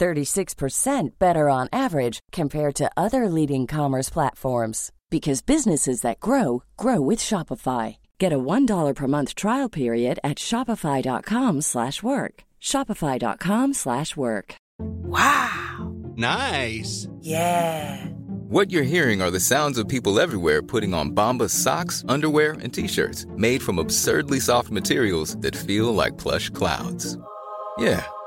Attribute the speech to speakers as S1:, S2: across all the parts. S1: 36% better on average compared to other leading commerce platforms because businesses that grow grow with Shopify. Get a $1 per month trial period at shopify.com/work. shopify.com/work.
S2: Wow.
S3: Nice.
S2: Yeah.
S4: What you're hearing are the sounds of people everywhere putting on Bombas socks, underwear, and t-shirts made from absurdly soft materials that feel like plush clouds. Yeah,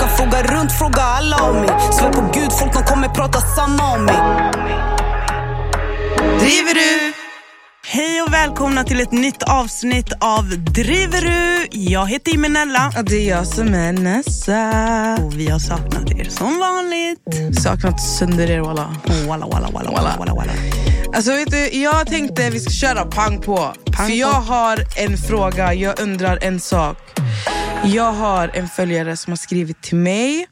S5: kan fråga runt, fråga alla om mig. Svär på gud, folk de kommer prata samma om mig.
S2: Driver du? Hej och välkomna till ett nytt avsnitt av Driver du? Jag heter Imenella.
S6: Ja, det är jag som är Nessa.
S2: Och vi har saknat er som vanligt.
S6: Saknat sönder er walla.
S2: Walla, walla, walla, walla, walla, walla.
S6: Alltså vet du, jag tänkte vi ska köra pang på.
S2: Pang
S6: För
S2: på.
S6: jag har en fråga, jag undrar en sak. Jag har en följare som har skrivit till mig.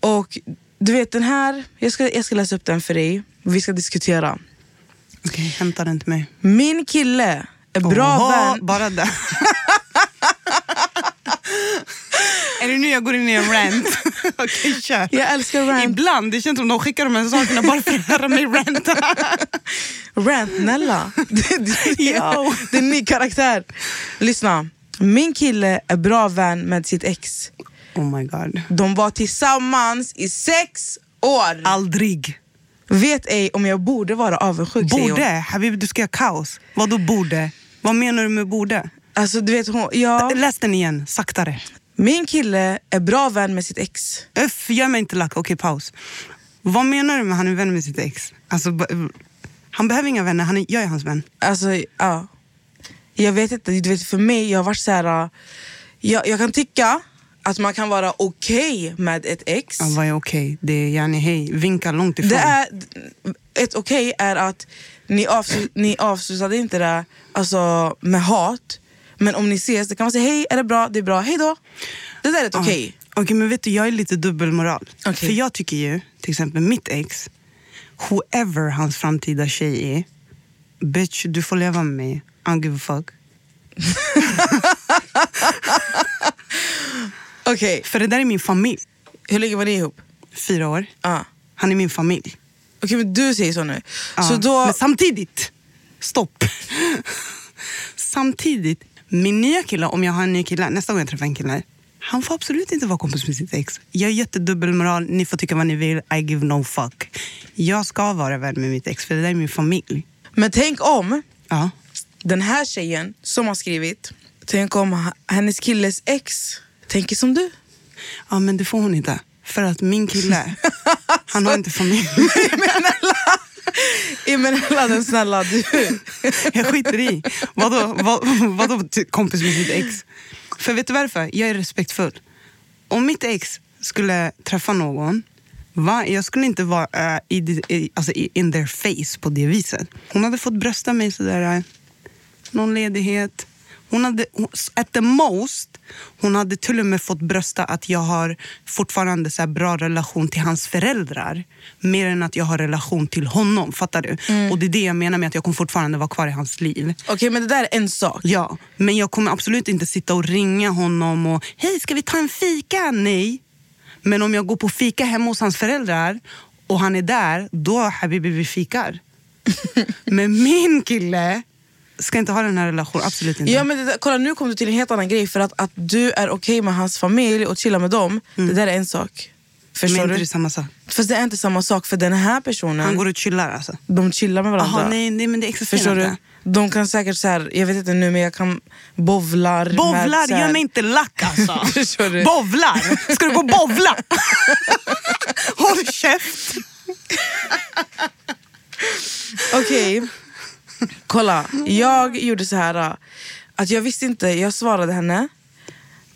S6: Och du vet den här, jag ska, jag ska läsa upp den för dig. Vi ska diskutera.
S2: Okej, hämta den till mig.
S6: Min kille är bra
S2: Oho,
S6: vän.
S2: Bara det. är det nu jag går in i en rant? Okej, kör.
S6: Jag älskar rant.
S2: Ibland, det känns som de skickar de här sakerna bara för att höra mig ranta.
S6: Rant Nella. Det- det-
S2: Yo.
S6: det är en ny karaktär. Lyssna. Min kille är bra vän med sitt ex.
S2: Oh my god.
S6: De var tillsammans i sex år.
S2: Aldrig.
S6: Vet ej om jag borde vara avundsjuk. säger hon.
S2: Borde? Eh, Habib, du ska göra kaos. Vad då borde? Vad menar du med borde?
S6: Alltså, du vet, hon, ja.
S2: Läs den igen, saktare.
S6: Min kille är bra vän med sitt ex.
S2: Öff, gör mig inte lack. Okej, paus. Vad menar du med han är vän med sitt ex? Alltså, ba- han behöver inga vänner, han är, jag är hans vän.
S6: Alltså, ja. Jag vet inte, du vet, för mig, jag har varit så här... äh, Jag, jag kan tycka att man kan vara okej med ett ex.
S2: Ja, vad är okej? Det är yani hej, vinka långt ifrån.
S6: Det är, ett okej är att ni, avslu, ni avslutade inte det alltså, med hat. Men om ni ses, det kan man säga hej, är det bra? Det är bra, hej då. Det där är ett
S2: Ja.
S6: okej.
S2: Okej, men vet du, jag är lite dubbelmoral.
S6: Okej.
S2: För jag tycker ju, till exempel mitt ex, whoever hans framtida tjej är, bitch, du får leva med mig. I don't give a fuck.
S6: Okej,
S2: För det där är min familj.
S6: hur länge var ni ihop?
S2: Fyra år.
S6: Ja.
S2: Han är min familj.
S6: Okej, men du säger så nu. Så
S2: Ja,
S6: då,
S2: Men samtidigt, stopp. samtidigt, min nya kille, om jag har en ny kille, nästa gång jag träffar en kille, han får absolut inte vara kompis med sitt ex. Jag är jättedubbelmoral, ni får tycka vad ni vill, I give no fuck. Jag ska vara vän med mitt ex, för det där är min familj.
S6: men tänk om
S2: Ja.
S6: den här tjejen som har skrivit, tänk om h- hennes killes ex tänker som du.
S2: ja, men det får hon inte. För att min kille, han har inte familj.
S6: Emellan den snälla du.
S2: Jag skiter i. Vadå, vad, vadå ty- kompis med sitt ex? För vet du varför? Jag är respektfull. Om mitt ex skulle träffa någon, va? jag skulle inte vara eh, i, di- i, alltså, i, in their face på det viset. Hon hade fått brösta mig sådär, eh, någon ledighet. Hon hade, hon- at the most, hon hade till och med fått brösta att jag har fortfarande så här bra relation till hans föräldrar. Mer än att jag har relation till honom, fattar du? Och det är det jag menar med att jag kommer fortfarande vara kvar i hans liv.
S6: Okej, men det där är en sak.
S2: Ja, men jag kommer absolut inte sitta och ringa honom och hej, ska vi ta en fika? Nej. Men om jag går på fika hemma hos hans föräldrar och han är där, då habibi vi fikar. men min kille ska inte ha den här relationen, absolut inte.
S6: Ja, men det där, kolla, nu kom du till en helt annan grej. För att, att du är okej med hans familj och chillar med dem, det där är en sak.
S2: Mm. men
S6: Förstår
S2: inte det
S6: du?
S2: är samma sak.
S6: Fast det är inte samma sak för den här personen,
S2: Han går och chillar alltså.
S6: de chillar med varandra.
S2: Jaha, nej, nej men det existerar
S6: Förstår du?
S2: inte.
S6: De kan säkert så här, jag vet inte nu men jag kan bovlar. med
S2: Bovlar,
S6: så här-
S2: gör mig inte lack alltså.
S6: Förstår du?
S2: Bovlar! Ska du gå och bovla? Håll käft!
S6: Okej, kolla. Jag gjorde så här äh, att jag visste inte, jag svarade henne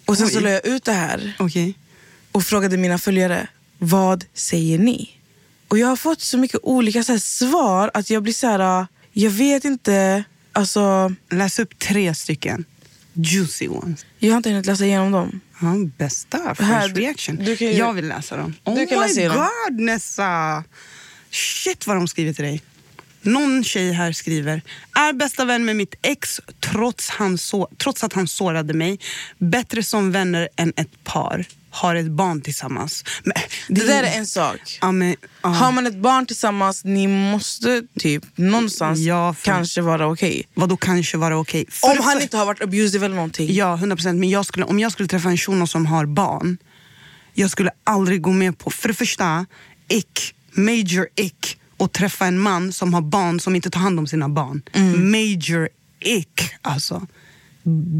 S6: och sen så la jag ut det här
S2: Okej.
S6: och frågade mina följare, vad säger ni? Och jag har fått så mycket olika så här, svar att jag blir så här, äh, jag vet inte, alltså
S2: Läs upp tre stycken juicy ones.
S6: jag har inte hunnit läsa igenom dem.
S2: Ja, bästa first
S6: Här, du-
S2: reaction.
S6: du kan ju-
S2: jag vill läsa dem. Oh
S6: Du kan
S2: my
S6: läsa igenom.
S2: god Nessa! Shit vad de skriver till dig. Någon tjej här skriver, är bästa vän med mitt ex trots, han så, trots att han sårade mig. Bättre som vänner än ett par. Har ett barn tillsammans. Men,
S6: Det där är en sak.
S2: Ja, men, ja.
S6: Har man ett barn tillsammans, ni måste typ någonstans
S2: Ja, för-
S6: kanske vara okej.
S2: Vadå kanske vara okej? För det
S6: Om han
S2: för-
S6: inte har varit abusive eller någonting.
S2: Ja, 100 procent. Men jag skulle, om jag skulle träffa en shuno som har barn, jag skulle aldrig gå med på, för det första, ick, major ick, att träffa en man som har barn som inte tar hand om sina barn.
S6: Mm.
S2: Major ick, alltså.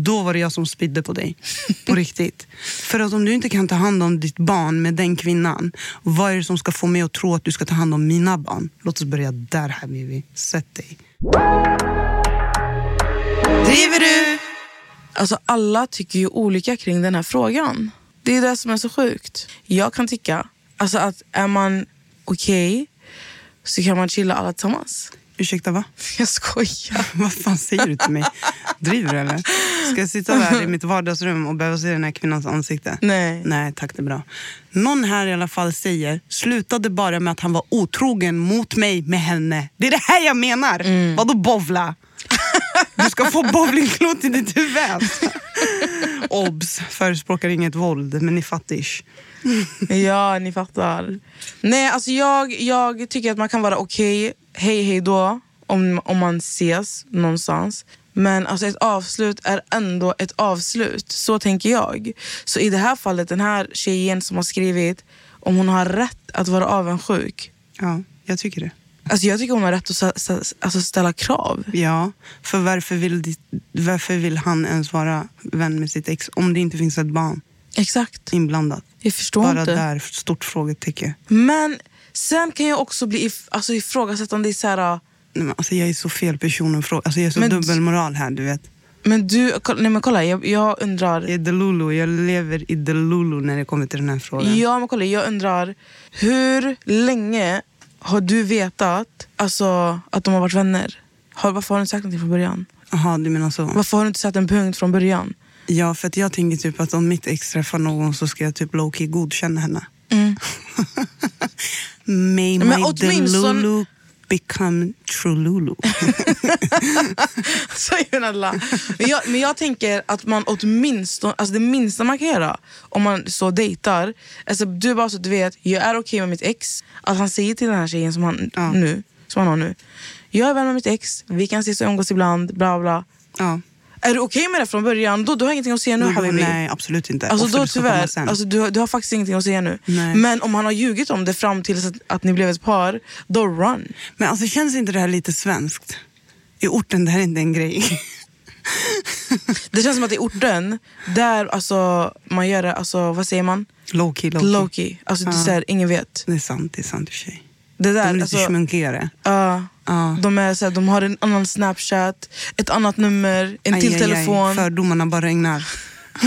S2: Då var det jag som spydde på dig. På riktigt. För att om du inte kan ta hand om ditt barn med den kvinnan, vad är det som ska få mig att tro att du ska ta hand om mina barn? Låt oss börja där Habibi. Sätt dig.
S6: Driver du? Alltså alla tycker ju olika kring den här frågan. Det är det som är så sjukt. Jag kan tycka alltså att är man okej så kan man chilla alla tillsammans.
S2: Ursäkta, va?
S6: Jag skojar.
S2: Vad fan säger du till mig? Driver du eller? Ska jag sitta här i mitt vardagsrum och behöva se den här kvinnans ansikte?
S6: Nej.
S2: Nej, tack det är bra. Någon här i alla fall säger, slutade bara med att han var otrogen mot mig med henne. Det är det här jag menar! Vadå bovla? Du ska få bowlingklot i ditt huvud. alltså. Obs! Förespråkar inget våld, men ni fattish.
S6: Ja, ni fattar. Nej, alltså jag, jag tycker att man kan vara okej, hej hej då, om, om man ses någonstans. Men alltså ett avslut är ändå ett avslut. Så tänker jag. Så i det här fallet, den här tjejen som har skrivit, om hon har rätt att vara avundsjuk.
S2: Ja, jag tycker det.
S6: Alltså jag tycker hon har rätt att sa- sa- alltså ställa krav.
S2: Ja, för varför vill, ditt- varför vill han ens vara vän med sitt ex om det inte finns ett barn
S6: Exakt.
S2: inblandat?
S6: Jag förstår
S2: Bara
S6: inte.
S2: där, stort frågetecken.
S6: Men sen kan jag också bli if- alltså ifrågasättande i så här... "Ah,
S2: Nej, men alltså jag är så fel person att fråga. Alltså jag är så
S6: Men-
S2: dubbelmoral här, du vet.
S6: Men du, kolla- nej men kolla, jag, jag undrar...
S2: Jag är delulu. Jag lever i delulu när det kommer till den här frågan.
S6: Ja, men kolla, jag undrar hur länge har du vetat alltså, att de har varit vänner? Har, varför har du inte sagt någonting från början?
S2: Jaha, du menar så.
S6: Varför har du inte satt en punkt från början?
S2: Ja, för att jag tänker typ att om mitt ex träffar någon så ska jag typ low-key godkänna henne. May
S6: Mm. Men
S2: my
S6: åtminstone-
S2: delulu become trululu.
S6: Säger alla. Men jag, men jag tänker att man åtminstone, alltså det minsta man kan göra om man så dejtar, alltså du bara så att du vet, jag är okej med mitt ex, att han säger till den här tjejen som han,
S2: Ja.
S6: nu, som han har nu, jag är vän med mitt ex, vi kan ses och umgås ibland, bla bla.
S2: ja.
S6: Är du okej med det från början, då, då har jag ingenting att säga nu
S2: Men då-
S6: habibi.
S2: nej, absolut inte.
S6: Alltså
S2: Ofta
S6: då
S2: du ska komma
S6: tyvärr,
S2: sen.
S6: alltså, du, har- du har faktiskt ingenting att säga nu.
S2: Nej.
S6: Men om han har ljugit om det fram tills att, att ni blev ett par, då run.
S2: Men alltså känns inte det här lite svenskt? I orten, det här är inte en grej.
S6: Det känns som att i orten, där alltså, man gör det, alltså, vad säger man?
S2: Low-key, low-key.
S6: Low-key. Alltså, det är
S2: Ja.
S6: så här, ingen vet.
S2: Det är sant, det är sant i och för sig.
S6: Det
S2: De
S6: där,
S2: är lite
S6: alltså,
S2: schmunkigare.
S6: ja.
S2: Ja.
S6: de, är, så här, de har en annan snapchat, ett annat nummer, en
S2: Aj,
S6: till
S2: aj, aj.
S6: telefon.
S2: Fördomarna bara regnar.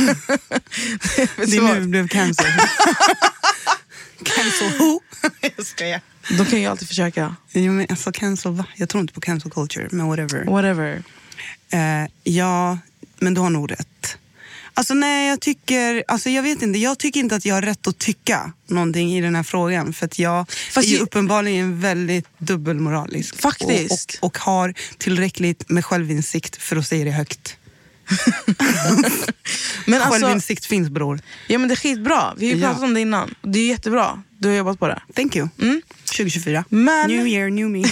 S2: det är nu vi blev cancel. cancel who? jag skojar.
S6: De kan ju alltid försöka.
S2: Jo, men alltså cancel va? Jag tror inte på cancel culture, men whatever.
S6: Whatever.
S2: Eh, ja, men du har nog rätt. Alltså nej, jag tycker, alltså jag vet inte, jag tycker inte att jag har rätt att tycka någonting i den här frågan. För att jag
S6: Fast
S2: är ju
S6: ju-
S2: uppenbarligen väldigt dubbelmoralisk.
S6: Faktiskt.
S2: Och, och, och har tillräckligt med självinsikt för att säga det högt.
S6: Men alltså,
S2: Självinsikt finns bror.
S6: ja, men det är skitbra. Vi har ju
S2: Ja.
S6: pratat om det innan. Det är jättebra. Du har jobbat på det.
S2: Thank you. 2024.
S6: Mm. Men-
S2: New year, new me.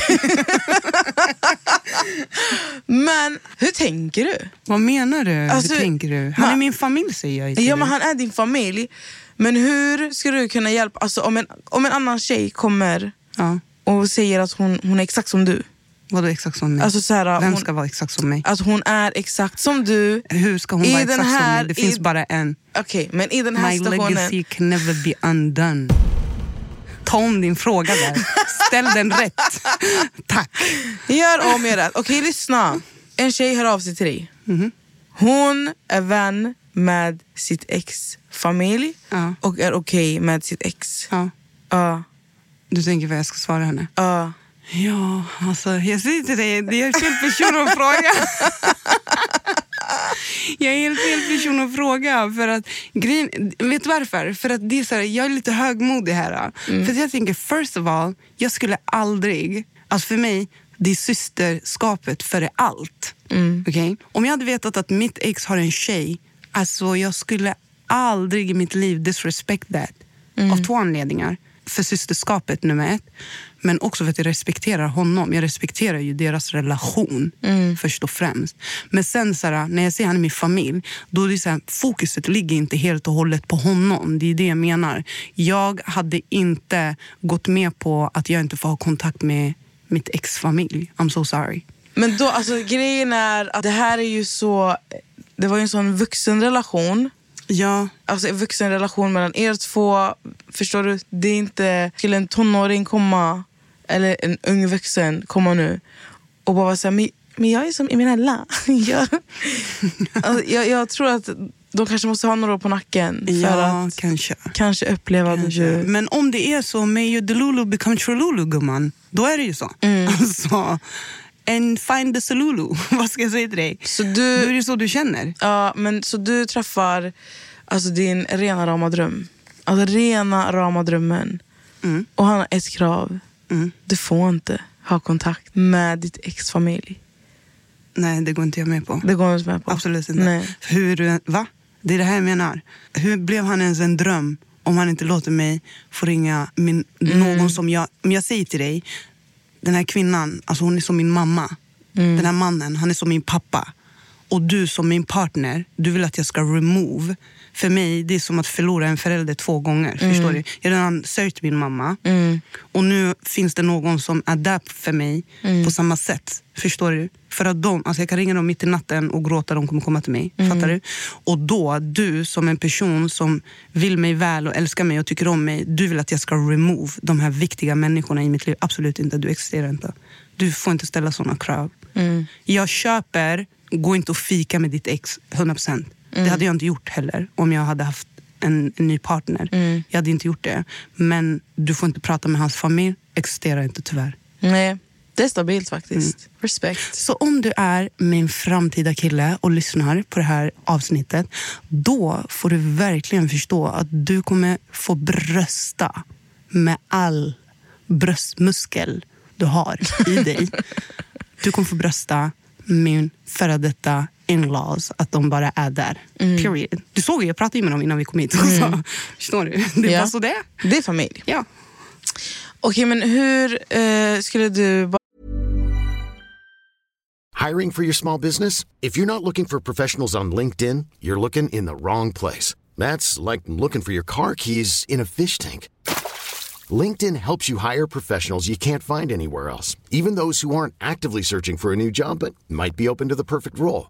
S6: Men hur tänker du?
S2: Vad menar du?
S6: Alltså,
S2: Hur tänker du? Han
S6: ma-
S2: är min familj säger jag ju till
S6: Ja,
S2: dig.
S6: men han är din familj. Men hur ska du kunna hjälpa? Alltså, om, en, om en annan tjej kommer
S2: ja.
S6: och säger att hon, hon är exakt som du.
S2: Vadå exakt som mig?
S6: Alltså, så här,
S2: Mm. Vem
S6: hon,
S2: ska vara exakt som mig?
S6: Att hon är exakt som du.
S2: Hur ska hon
S6: i
S2: vara
S6: den
S2: exakt
S6: här-
S2: som mig? Det finns
S6: i-
S2: bara en.
S6: Okej, men i den här
S2: My
S6: situationen...
S2: legacy can never be undone. Ta om din fråga där. Ställ den rätt. Tack.
S6: Gör om, gör rätt. Okej, lyssna. En tjej hör av sig till dig.
S2: Mhm.
S6: Hon är vän med sitt ex familj
S2: Ja.
S6: och är okej med sitt ex.
S2: Ja,
S6: Ja,
S2: du tänker vad jag ska svara henne?
S6: ja.
S2: Ja, alltså jag säger till dig, det är fel person att fråga. Jag är helt fel person att fråga. För att, grejen, vet du varför? För att det är så här, jag är lite högmodig här.
S6: Mm.
S2: För att jag tänker, first of all, jag skulle aldrig... Alltså för mig, det är systerskapet före allt. Mm. Om jag hade vetat att mitt ex har en tjej, alltså jag skulle aldrig i mitt liv disrespect that. Av två anledningar. För systerskapet nummer ett, men också för att jag respekterar honom. Jag respekterar ju deras relation först och främst. Men sen så här, när jag ser han i min familj, då är det så här, fokuset ligger inte helt och hållet på honom. Det är det jag menar. Jag hade inte gått med på att jag inte får ha kontakt med mitt ex-familj. I'm so sorry.
S6: Men då, alltså grejen är att det här är ju så... Det var ju en sån vuxen relation.
S2: Ja,
S6: Alltså en vuxen relation mellan er två. Förstår du? Det är inte... Skulle en tonåring komma, eller en ung vuxen komma nu och bara vara såhär, men, men jag är som Eminella. jag, alltså, jag, jag tror att de kanske måste ha några år på nacken för
S2: ja
S6: att
S2: kanske.
S6: kanske uppleva det du...
S2: Men om det är så, may your delulu become trululu gumman. Då är det ju så.
S6: Mm.
S2: Alltså, and find the solulu. Vad ska jag säga till dig?
S6: Så
S2: Då är
S6: du,
S2: det så du känner.
S6: ja, men, så du träffar alltså, din rena rama dröm. Alltså rena rama drömmen.
S2: Mm.
S6: Och han har ett krav.
S2: Mm.
S6: Du får inte ha kontakt med ditt ex-familj.
S2: Nej, det går inte jag med på.
S6: Det går han inte med på.
S2: Absolut inte.
S6: Nej.
S2: Hur, va? Det är det här jag menar. Hur blev han ens en dröm om han inte låter mig få ringa min,
S6: Mm.
S2: någon som jag... Om jag säger till dig, den här kvinnan, alltså hon är som min mamma.
S6: Mm.
S2: Den här mannen, han är som min pappa. Och du som min partner, du vill att jag ska remove. För mig, det är som att förlora en förälder två gånger. Förstår du? Jag har redan sörjt min mamma. Och nu finns det någon som är där för mig på samma sätt. Förstår du? För att de, alltså jag kan ringa dem mitt i natten och gråta, de kommer komma till mig. Fattar du? Och då, du som en person som vill mig väl och älskar mig och tycker om mig, du vill att jag ska remove de här viktiga människorna i mitt liv. Absolut inte, du existerar inte. Du får inte ställa såna krav. Mm. Jag köper, gå inte och fika med ditt ex, 100%. Det hade jag inte gjort heller om jag hade haft en, en ny partner. Jag hade inte gjort det. Men du får inte prata med hans familj, existerar inte tyvärr.
S6: Nej, det är stabilt faktiskt.
S2: Mm.
S6: Respekt.
S2: Så om du är min framtida kille och lyssnar på det här avsnittet, då får du verkligen förstå att du kommer få brösta med all bröstmuskel du har i dig. Du kommer få brösta min före detta in-laws, att de bara är där.
S6: Mm.
S2: Period. Du såg ju, jag pratade ju med dem innan vi kom hit. Så, förstår du? Det är
S6: Ja.
S2: bara så det är.
S6: Det är familj.
S2: Ja.
S6: Okej, men hur eh, skulle du... ba-
S3: Hiring for your small business? If you're not looking for professionals on LinkedIn, you're looking in the wrong place. That's like looking for your car keys in a fish tank. LinkedIn helps you hire professionals you can't find anywhere else, even those who aren't actively searching for a new job but might be open to the perfect role.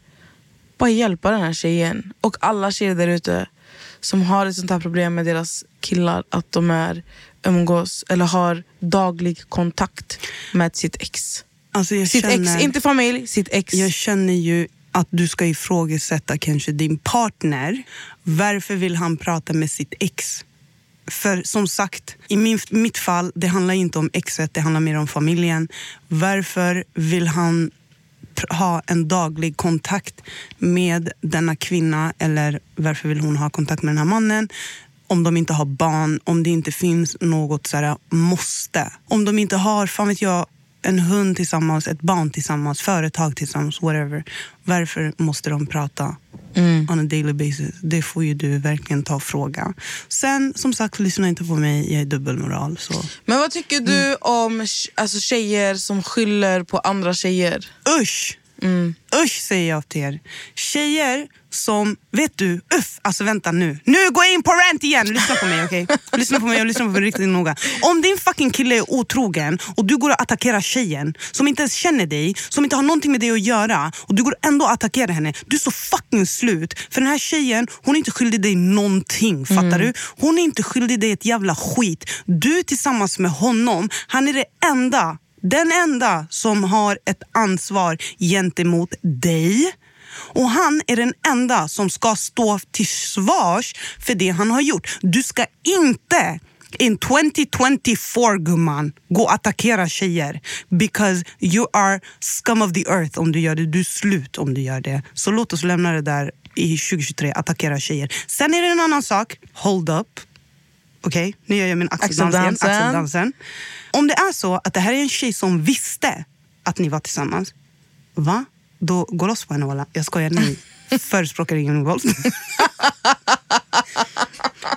S6: bara hjälpa den här tjejen och alla tjejer där ute som har ett sånt här problem med deras killar, att de är umgås eller har daglig kontakt med sitt ex.
S2: Alltså jag
S6: Sitt
S2: känner,
S6: ex, inte familj, sitt ex.
S2: Jag känner ju att du ska ifrågasätta kanske din partner. Varför vill han prata med sitt ex? För som sagt, i min, mitt fall, det handlar inte om exet, det handlar mer om familjen. Varför vill han pr- ha en daglig kontakt med denna kvinna eller varför vill hon ha kontakt med den här mannen? Om de inte har barn, om det inte finns något så här, måste. Om de inte har, fan vet jag, en hund tillsammans, ett barn tillsammans, företag tillsammans, whatever. Varför måste de prata on a daily basis? Det får ju du verkligen ta och fråga. Sen, som sagt, lyssna inte på mig. Jag är dubbelmoral. Så.
S6: Men vad tycker du
S2: Mm.
S6: om alltså, tjejer som skyller på andra tjejer?
S2: Usch! Usch säger jag till er. Tjejer som, vet du, uff, alltså vänta nu. Nu går jag in på rant igen! Lyssna på mig okej? Lyssna på mig och lyssna på mig riktigt noga. Om din fucking kille är otrogen och du går och attackerar tjejen som inte ens känner dig, som inte har någonting med dig att göra och du går ändå och attackerar henne. Du är så fucking slut. För den här tjejen, hon är inte skyldig dig någonting. Fattar du? Hon är inte skyldig dig ett jävla skit. Du tillsammans med honom, han är det enda den enda som har ett ansvar gentemot dig. Och han är den enda som ska stå till svars för det han har gjort. Du ska inte in 2024 gumman, gå och attackera tjejer. Because you are scum of the earth om du gör det. Du är slut om du gör det. Så låt oss lämna det där i 2023, attackera tjejer. Sen är det en annan sak, hold up. Okej, nu gör jag min axeldans igen.
S6: Axeldansen.
S2: Axeldansen. Om det är så att det här är en tjej som visste att ni var tillsammans, va? Då gå loss på henne walla. Jag skojar, ni förespråkar ingen våld.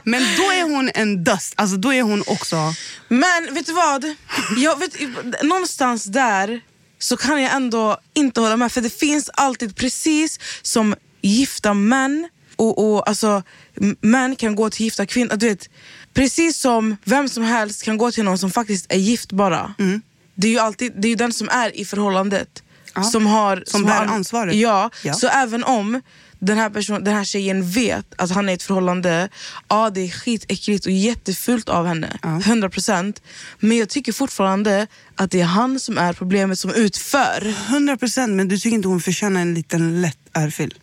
S2: Men då är hon en dust. Alltså då är hon också...
S6: Men vet du vad? Jag vet, någonstans där så kan jag ändå inte hålla med. För det finns alltid, precis som gifta män och, och alltså, m- män kan gå till gifta kvinnor. Du vet, precis som vem som helst kan gå till någon som faktiskt är gift bara.
S2: Mm.
S6: Det är ju alltid, det är ju den som är i förhållandet
S2: Ja.
S6: som har
S2: Som bär
S6: har-
S2: ansvaret.
S6: Ja,
S2: Ja.
S6: så även om den här, person, den här tjejen vet att han är i ett förhållande, ja det är skitäckligt och jättefult av henne. 100% Men jag tycker fortfarande att det är han som är problemet som utför.
S2: 100 procent, men du tycker inte hon förtjänar en liten lätt örfil?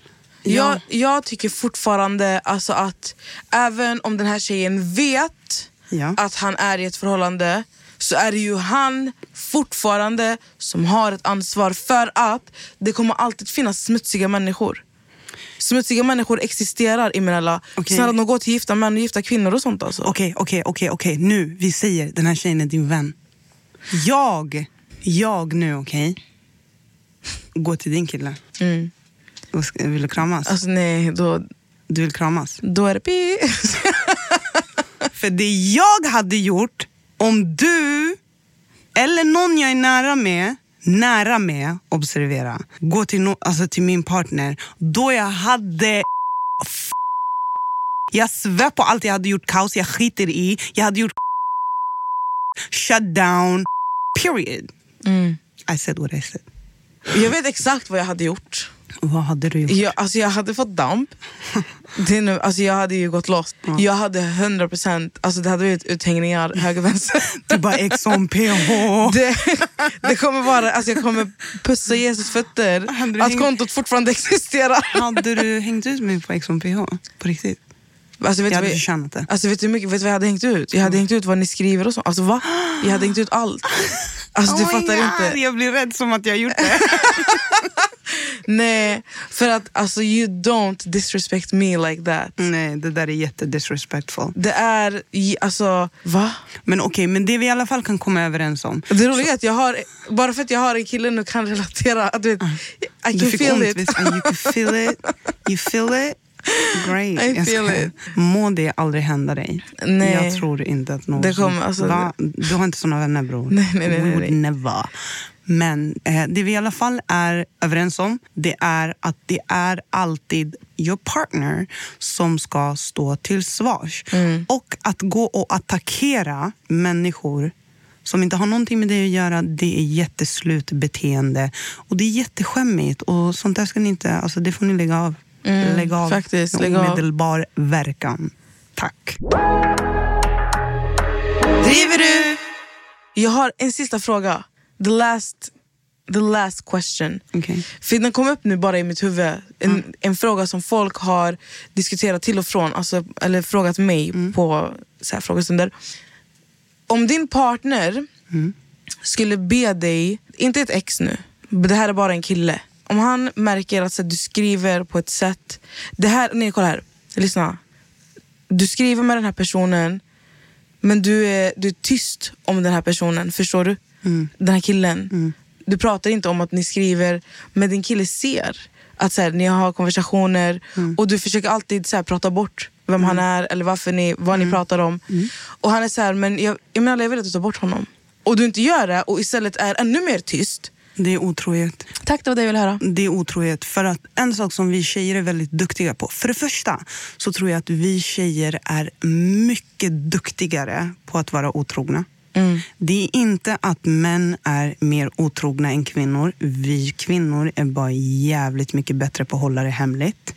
S6: Jag, jag tycker fortfarande alltså att även om den här tjejen vet
S2: Ja.
S6: att han är i ett förhållande så är det ju han fortfarande som har ett ansvar för att det kommer alltid finnas smutsiga människor. Smutsiga människor existerar emellan.
S2: Okej.
S6: Snälla de går till gifta män och gifta kvinnor och sånt alltså.
S2: Okej, okej, okej, okej. Nu, vi säger den här tjejen är din vän. Jag, jag nu, okej? Gå till din kille.
S6: Mm.
S2: Vad ska- Vill du kramas?
S6: Alltså nej, då,
S2: Du vill kramas?
S6: då är det pi.
S2: För det jag hade gjort om du eller någon jag är nära med, nära med, observera, går till, no, alltså till min partner, då jag hade jag svär på allt jag hade gjort kaos, jag skiter i, jag hade gjort shut down, period.
S6: Mm.
S2: I said what I said.
S6: Jag vet exakt vad jag hade gjort.
S2: Vad hade du gjort?
S6: Jag, alltså jag hade fått damp. Det är nu, alltså jag hade ju gått loss. Jag hade 100%, alltså det hade blivit uthängningar höger vänster.
S2: Du bara ex on PH.
S6: Det, det kommer vara, alltså jag kommer pussa Jesus fötter.
S2: Hade du
S6: Att
S2: hängt-
S6: kontot fortfarande existerar.
S2: Hade du hängt ut mig på ex on PH? På riktigt?
S6: Alltså vet,
S2: Jag
S6: du
S2: hade
S6: vad,
S2: förtjänat det.
S6: alltså vet du hur mycket, vet du vad jag hade hängt ut? Jag hade hängt ut vad ni skriver och så. Alltså va? Jag hade hängt ut allt. Alltså du
S2: Oh my
S6: fattar
S2: God,
S6: inte.
S2: Jag blir rädd som att jag gjort det.
S6: Nej, för att alltså you don't disrespect me like that.
S2: Nej, det där är jättedisrespectful.
S6: Det är, i- alltså va?
S2: Men okej, men det vi i alla fall kan komma överens om.
S6: Det roliga är att jag har, bara för att jag har en kille nu kan relatera. Att, du vet, Ah. I
S2: Mm. Du
S6: can
S2: fick ont,
S6: feel it.
S2: visst? And You can feel it. You feel it. Great.
S6: I
S2: Jag
S6: feel
S2: skojar.
S6: it.
S2: Må det aldrig hända dig.
S6: Nej.
S2: Jag tror inte att någon...
S6: Det
S2: som-
S6: kommer, alltså-
S2: Va? Du har inte såna vänner bror.
S6: Nej, nej, nej,
S2: We
S6: nej, nej.
S2: would never. Men eh, det vi i alla fall är överens om det är att det är alltid your partner som ska
S6: Mm.
S2: stå till svars. Och att gå och attackera människor som inte har någonting med det att göra. Det är jätteslut beteende och det är jätteskämmigt och sånt där ska ni inte, alltså det får ni lägga av.
S6: Mm,
S2: lägga av
S6: faktiskt,
S2: med
S6: lägg av.
S2: omedelbar verkan. Tack.
S6: Driver du? Jag har en sista fråga. The last, the last question.
S2: Okej.
S6: För den kom upp nu bara i mitt huvud. En, en fråga som folk har diskuterat till och från, alltså, eller frågat mig på så här frågestunder. Om din partner skulle be dig, inte ett ex nu, det här är bara en kille. Om han märker att så här, du skriver på ett sätt, det här, nej kolla här, lyssna. Du skriver med den här personen, men du är, du är tyst om den här personen, förstår du? Den här killen. Du pratar inte om att ni skriver, men din kille ser att så här, ni har konversationer och du försöker alltid så här, prata bort vem han är eller varför ni, vad ni pratar om. Och han är så här, men jag, jag menar jag vill att du tar bort honom. Och du inte gör det och istället är ännu mer tyst.
S2: Det är otrohet.
S6: Tack, det var det jag ville höra.
S2: Det är otrohet. För att en sak som vi tjejer är väldigt duktiga på. För det första så tror jag att vi tjejer är mycket duktigare på att vara otrogna. Det är inte att män är mer otrogna än kvinnor. Vi kvinnor är bara jävligt mycket bättre på att hålla det hemligt.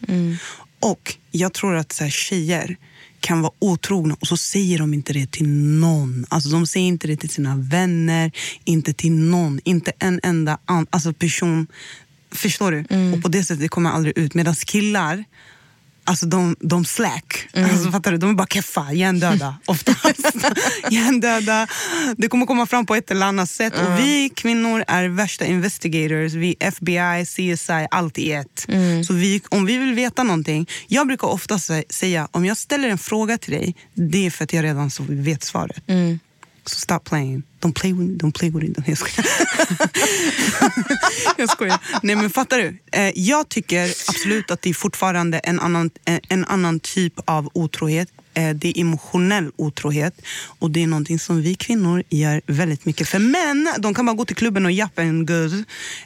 S2: Och jag tror att så här, tjejer kan vara otrogna och så säger de inte det till någon. Alltså de säger inte det till sina vänner, inte till någon, inte en enda an- alltså person. Förstår du? Och på det sättet det kommer aldrig ut. Medan killar, Alltså de, de slack. Alltså, fattar du? De är bara keffa, hjärndöda oftast. hjärndöda. Det kommer komma fram på ett eller annat sätt. Och vi kvinnor är värsta investigators. Vi är FBI, CSI, allt i ett. Så vi, om vi vill veta någonting. Jag brukar ofta sä- säga, om jag ställer en fråga till dig, det är för att jag redan så vet svaret. Så stop playing. Don't play with me. Don't play with me. Jag skojar. jag skojar. Nej, men fattar du? Eh, jag tycker absolut att det är fortfarande en annan, eh, en annan typ av otrohet. Eh, det är emotionell otrohet. Och det är någonting som vi kvinnor gör väldigt mycket för. Män, de kan bara gå till klubben och jappa en gud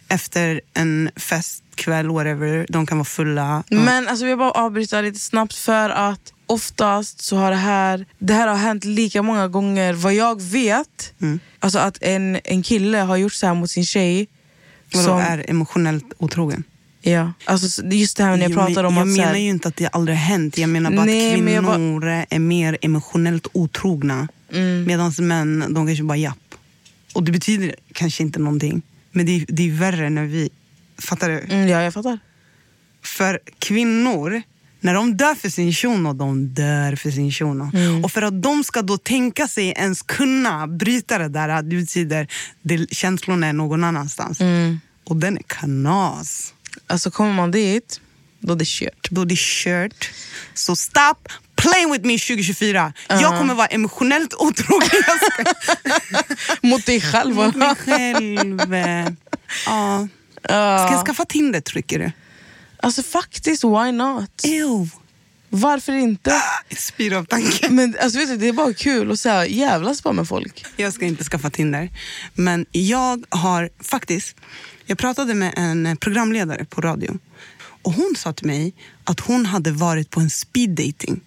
S2: efter en fest, kväll, whatever. De kan vara fulla. De-
S6: Men alltså, jag vill bara avbryta lite snabbt för att oftast så har det här Det här har hänt lika många gånger vad jag vet.
S2: Mm.
S6: Alltså att en, en kille har gjort så här mot sin tjej.
S2: Vadå,
S6: som-
S2: är emotionellt otrogen.
S6: Ja. Alltså, just det här när jag,
S2: men-
S6: pratar om
S2: jag
S6: att... så
S2: menar
S6: här,
S2: ju inte att det aldrig har hänt. Jag menar bara
S6: Nej,
S2: att
S6: men jag bara-
S2: kvinnor är mer emotionellt otrogna.
S6: Mm.
S2: Medan män, de kanske bara japp. Och det betyder kanske inte någonting. Men det är, det är värre när vi... Fattar du?
S6: Mm, ja, jag fattar.
S2: För kvinnor, när de dör för sin shuno, de dör för sin shuno.
S6: Mm.
S2: Och för att de ska då tänka sig ens kunna bryta det där, det betyder det, känslorna är någon annanstans.
S6: Mm.
S2: Och den är kanas.
S6: Alltså kommer man dit, då är det kört.
S2: Då är det kört. Så stop playing with me 2024. Jag kommer vara emotionellt otrogen. Jag ska-
S6: Mot dig själv.
S2: mot mig själv. Ja. Ska jag skaffa Tinder tycker du?
S6: Alltså faktiskt, why not?
S2: Ew.
S6: Varför inte?
S2: Jag spyr av tanken.
S6: Men alltså, vet du, det är bara kul att så här, jävlas bara med folk.
S2: Jag ska inte skaffa Tinder. Men jag har faktiskt... Jag pratade med en programledare på radio. Och Hon sa till mig att hon hade varit på en speed dating.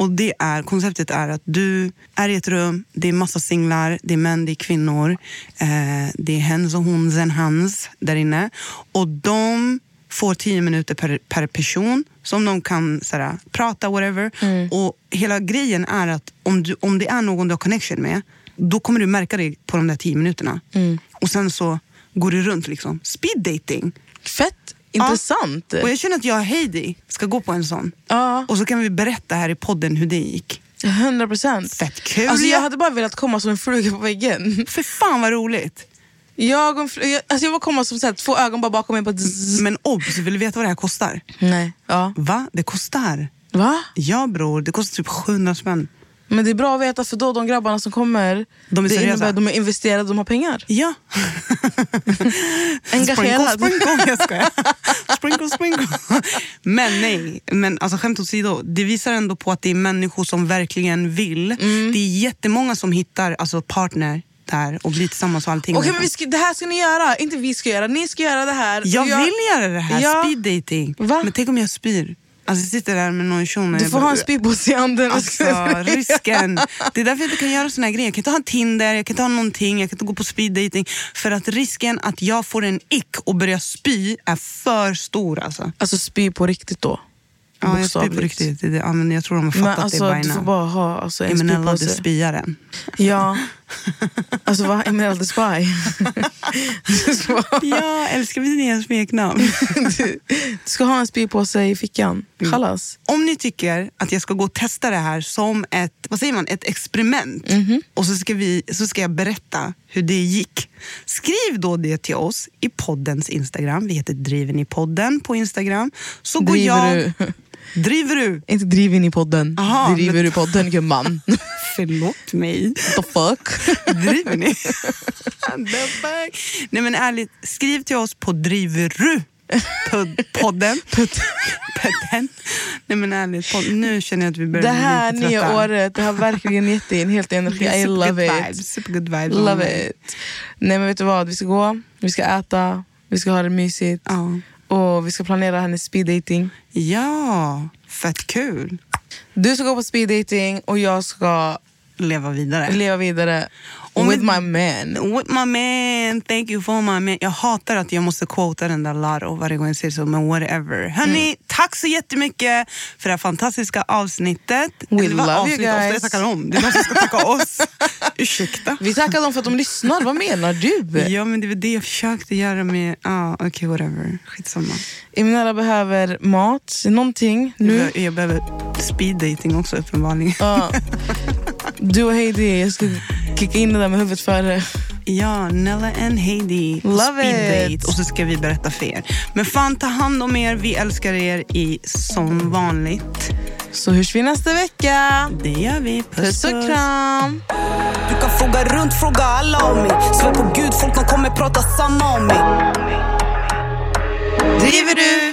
S2: Och det är, konceptet är att du är i ett rum, det är massa singlar, det är män, det är kvinnor. Eh, det är hens och hons and hans där inne. Och de får tio minuter per, per person som de kan såhär, prata, whatever.
S6: Mm.
S2: Och hela grejen är att om, du, om det är någon du har connection med, då kommer du märka det på de där tio minuterna.
S6: Mm.
S2: Och sen så går du runt liksom. Speed dating.
S6: Fett intressant.
S2: Ja. Och jag känner att jag och Heidi ska gå på en sån.
S6: Ja.
S2: Och så kan vi berätta här i podden hur det gick.
S6: 100 procent.
S2: Fett kul
S6: Alltså,
S2: ju.
S6: jag hade bara velat komma som en fluga på väggen.
S2: För fan vad roligt!
S6: Jag, och en fl- jag, alltså, jag vill komma som så här, två ögon bara bakom mig. Bara zzz.
S2: Men obs, vill du veta vad det här kostar?
S6: Nej. Ja.
S2: Va? Det kostar?
S6: Va?
S2: Ja bror, det kostar typ 700 spänn.
S6: Men det är bra att veta för då de grabbarna som kommer,
S2: De är
S6: det
S2: seriösa.
S6: innebär att de är investerade, de har pengar.
S2: Ja.
S6: Engagerad.
S2: Sprinkle, sprinkle. Jag skojar. Sprinkle, sprinkle. Men nej, men alltså skämt åsido. Det visar ändå på att det är människor som verkligen vill.
S6: Mm.
S2: Det är jättemånga som hittar alltså, partner där och blir tillsammans och allting.
S6: Okej men vi ska, det här ska ni göra, inte vi ska göra, ni ska göra det här.
S2: jag
S6: Och jag-
S2: vill göra det här,
S6: Ja.
S2: speed dating.
S6: Va?
S2: Men tänk om jag spyr? Alltså jag sitter där med någon tjon. och
S6: Du
S2: jag
S6: får
S2: bara-
S6: ha en spypåse i handen.
S2: Alltså risken. Det är därför jag inte kan göra såna här grejer. Jag kan inte ha Tinder, jag kan inte ha någonting, jag kan inte gå på speed dating. För att risken att jag får en ick och börjar spy är för stor alltså.
S6: Alltså spy på riktigt då.
S2: Ja, jag spyr på
S6: Bokstavligt.
S2: riktigt. Det- Ja, men jag tror de har
S6: Men
S2: fattat
S6: alltså,
S2: det by
S6: du får
S2: now.
S6: bara ha alltså, en
S2: Emellan du
S6: spypåse.
S2: spyaren.
S6: Ja. Alltså vad? Emerald the Spy? Du ska, bara-
S2: Jag älskar mitt nya smeknamn.
S6: du, du ska ha en spypåse i fickan. Kallas.
S2: Om ni tycker att jag ska gå och testa det här som ett, vad säger man, ett experiment
S6: Mhm.
S2: och så ska, vi, så ska jag berätta hur det gick. Skriv då det till oss i poddens Instagram. Vi heter Driven i podden på Instagram. Så går
S6: Driver
S2: jag...
S6: du?
S2: Driver du?
S6: Inte driver in i podden.
S2: Aha,
S6: driver
S2: men-
S6: du podden gumman?
S2: Förlåt mig.
S6: The fuck?
S2: Driver ni? The fuck? Nej men ärligt, skriv till oss på Driver du? Pod- Podden. Podden. Nej men ärligt, pod- nu känner jag att vi börjar
S6: Det här
S2: bli lite trötta.
S6: nya året det har verkligen gett dig en helt energi. I love it.
S2: vibes. Supergood vibes.
S6: Love it. Nej men vet du vad? Vi ska gå, vi ska äta, vi ska ha det mysigt.
S2: Ja.
S6: Och vi ska planera hennes speed dating.
S2: Ja, fett kul.
S6: Du ska gå på speed dating och jag ska
S2: Leva vidare.
S6: leva vidare
S2: Om
S6: with my
S2: vi-
S6: man.
S2: With my man, thank you for my man. Jag hatar att jag måste quota den där Laro varje gång jag ser så, men whatever. Hörni,
S6: Mm.
S2: tack så jättemycket för det här fantastiska avsnittet.
S6: We
S2: Eller vad
S6: love you
S2: avsnitt,
S6: guys.
S2: Ofta jag tackar om. Det är de som ska tacka oss. Ursäkta.
S6: Vi tackar dem för att de lyssnar. Vad menar du?
S2: Ja, men det var det jag försökte göra med... Ah, Okej, whatever. Skitsamma.
S6: Imenella behöver mat, någonting nu.
S2: Jag, jag behöver speed dating också uppenbarligen.
S6: Ja. Du och Heidi, jag ska kicka in det där med huvudet före.
S2: Ja, Nella and Heidi. på
S6: Love
S2: speed
S6: it.
S2: date. Och så ska vi berätta för er. Men fan, ta hand om er. Vi älskar er i som vanligt.
S6: Så hörs vi nästa vecka.
S2: Det gör vi.
S6: Puss och kram.
S5: Du kan fråga runt, fråga alla om mig. Svär på gud, folk de kommer prata samma om mig.
S2: Driver du?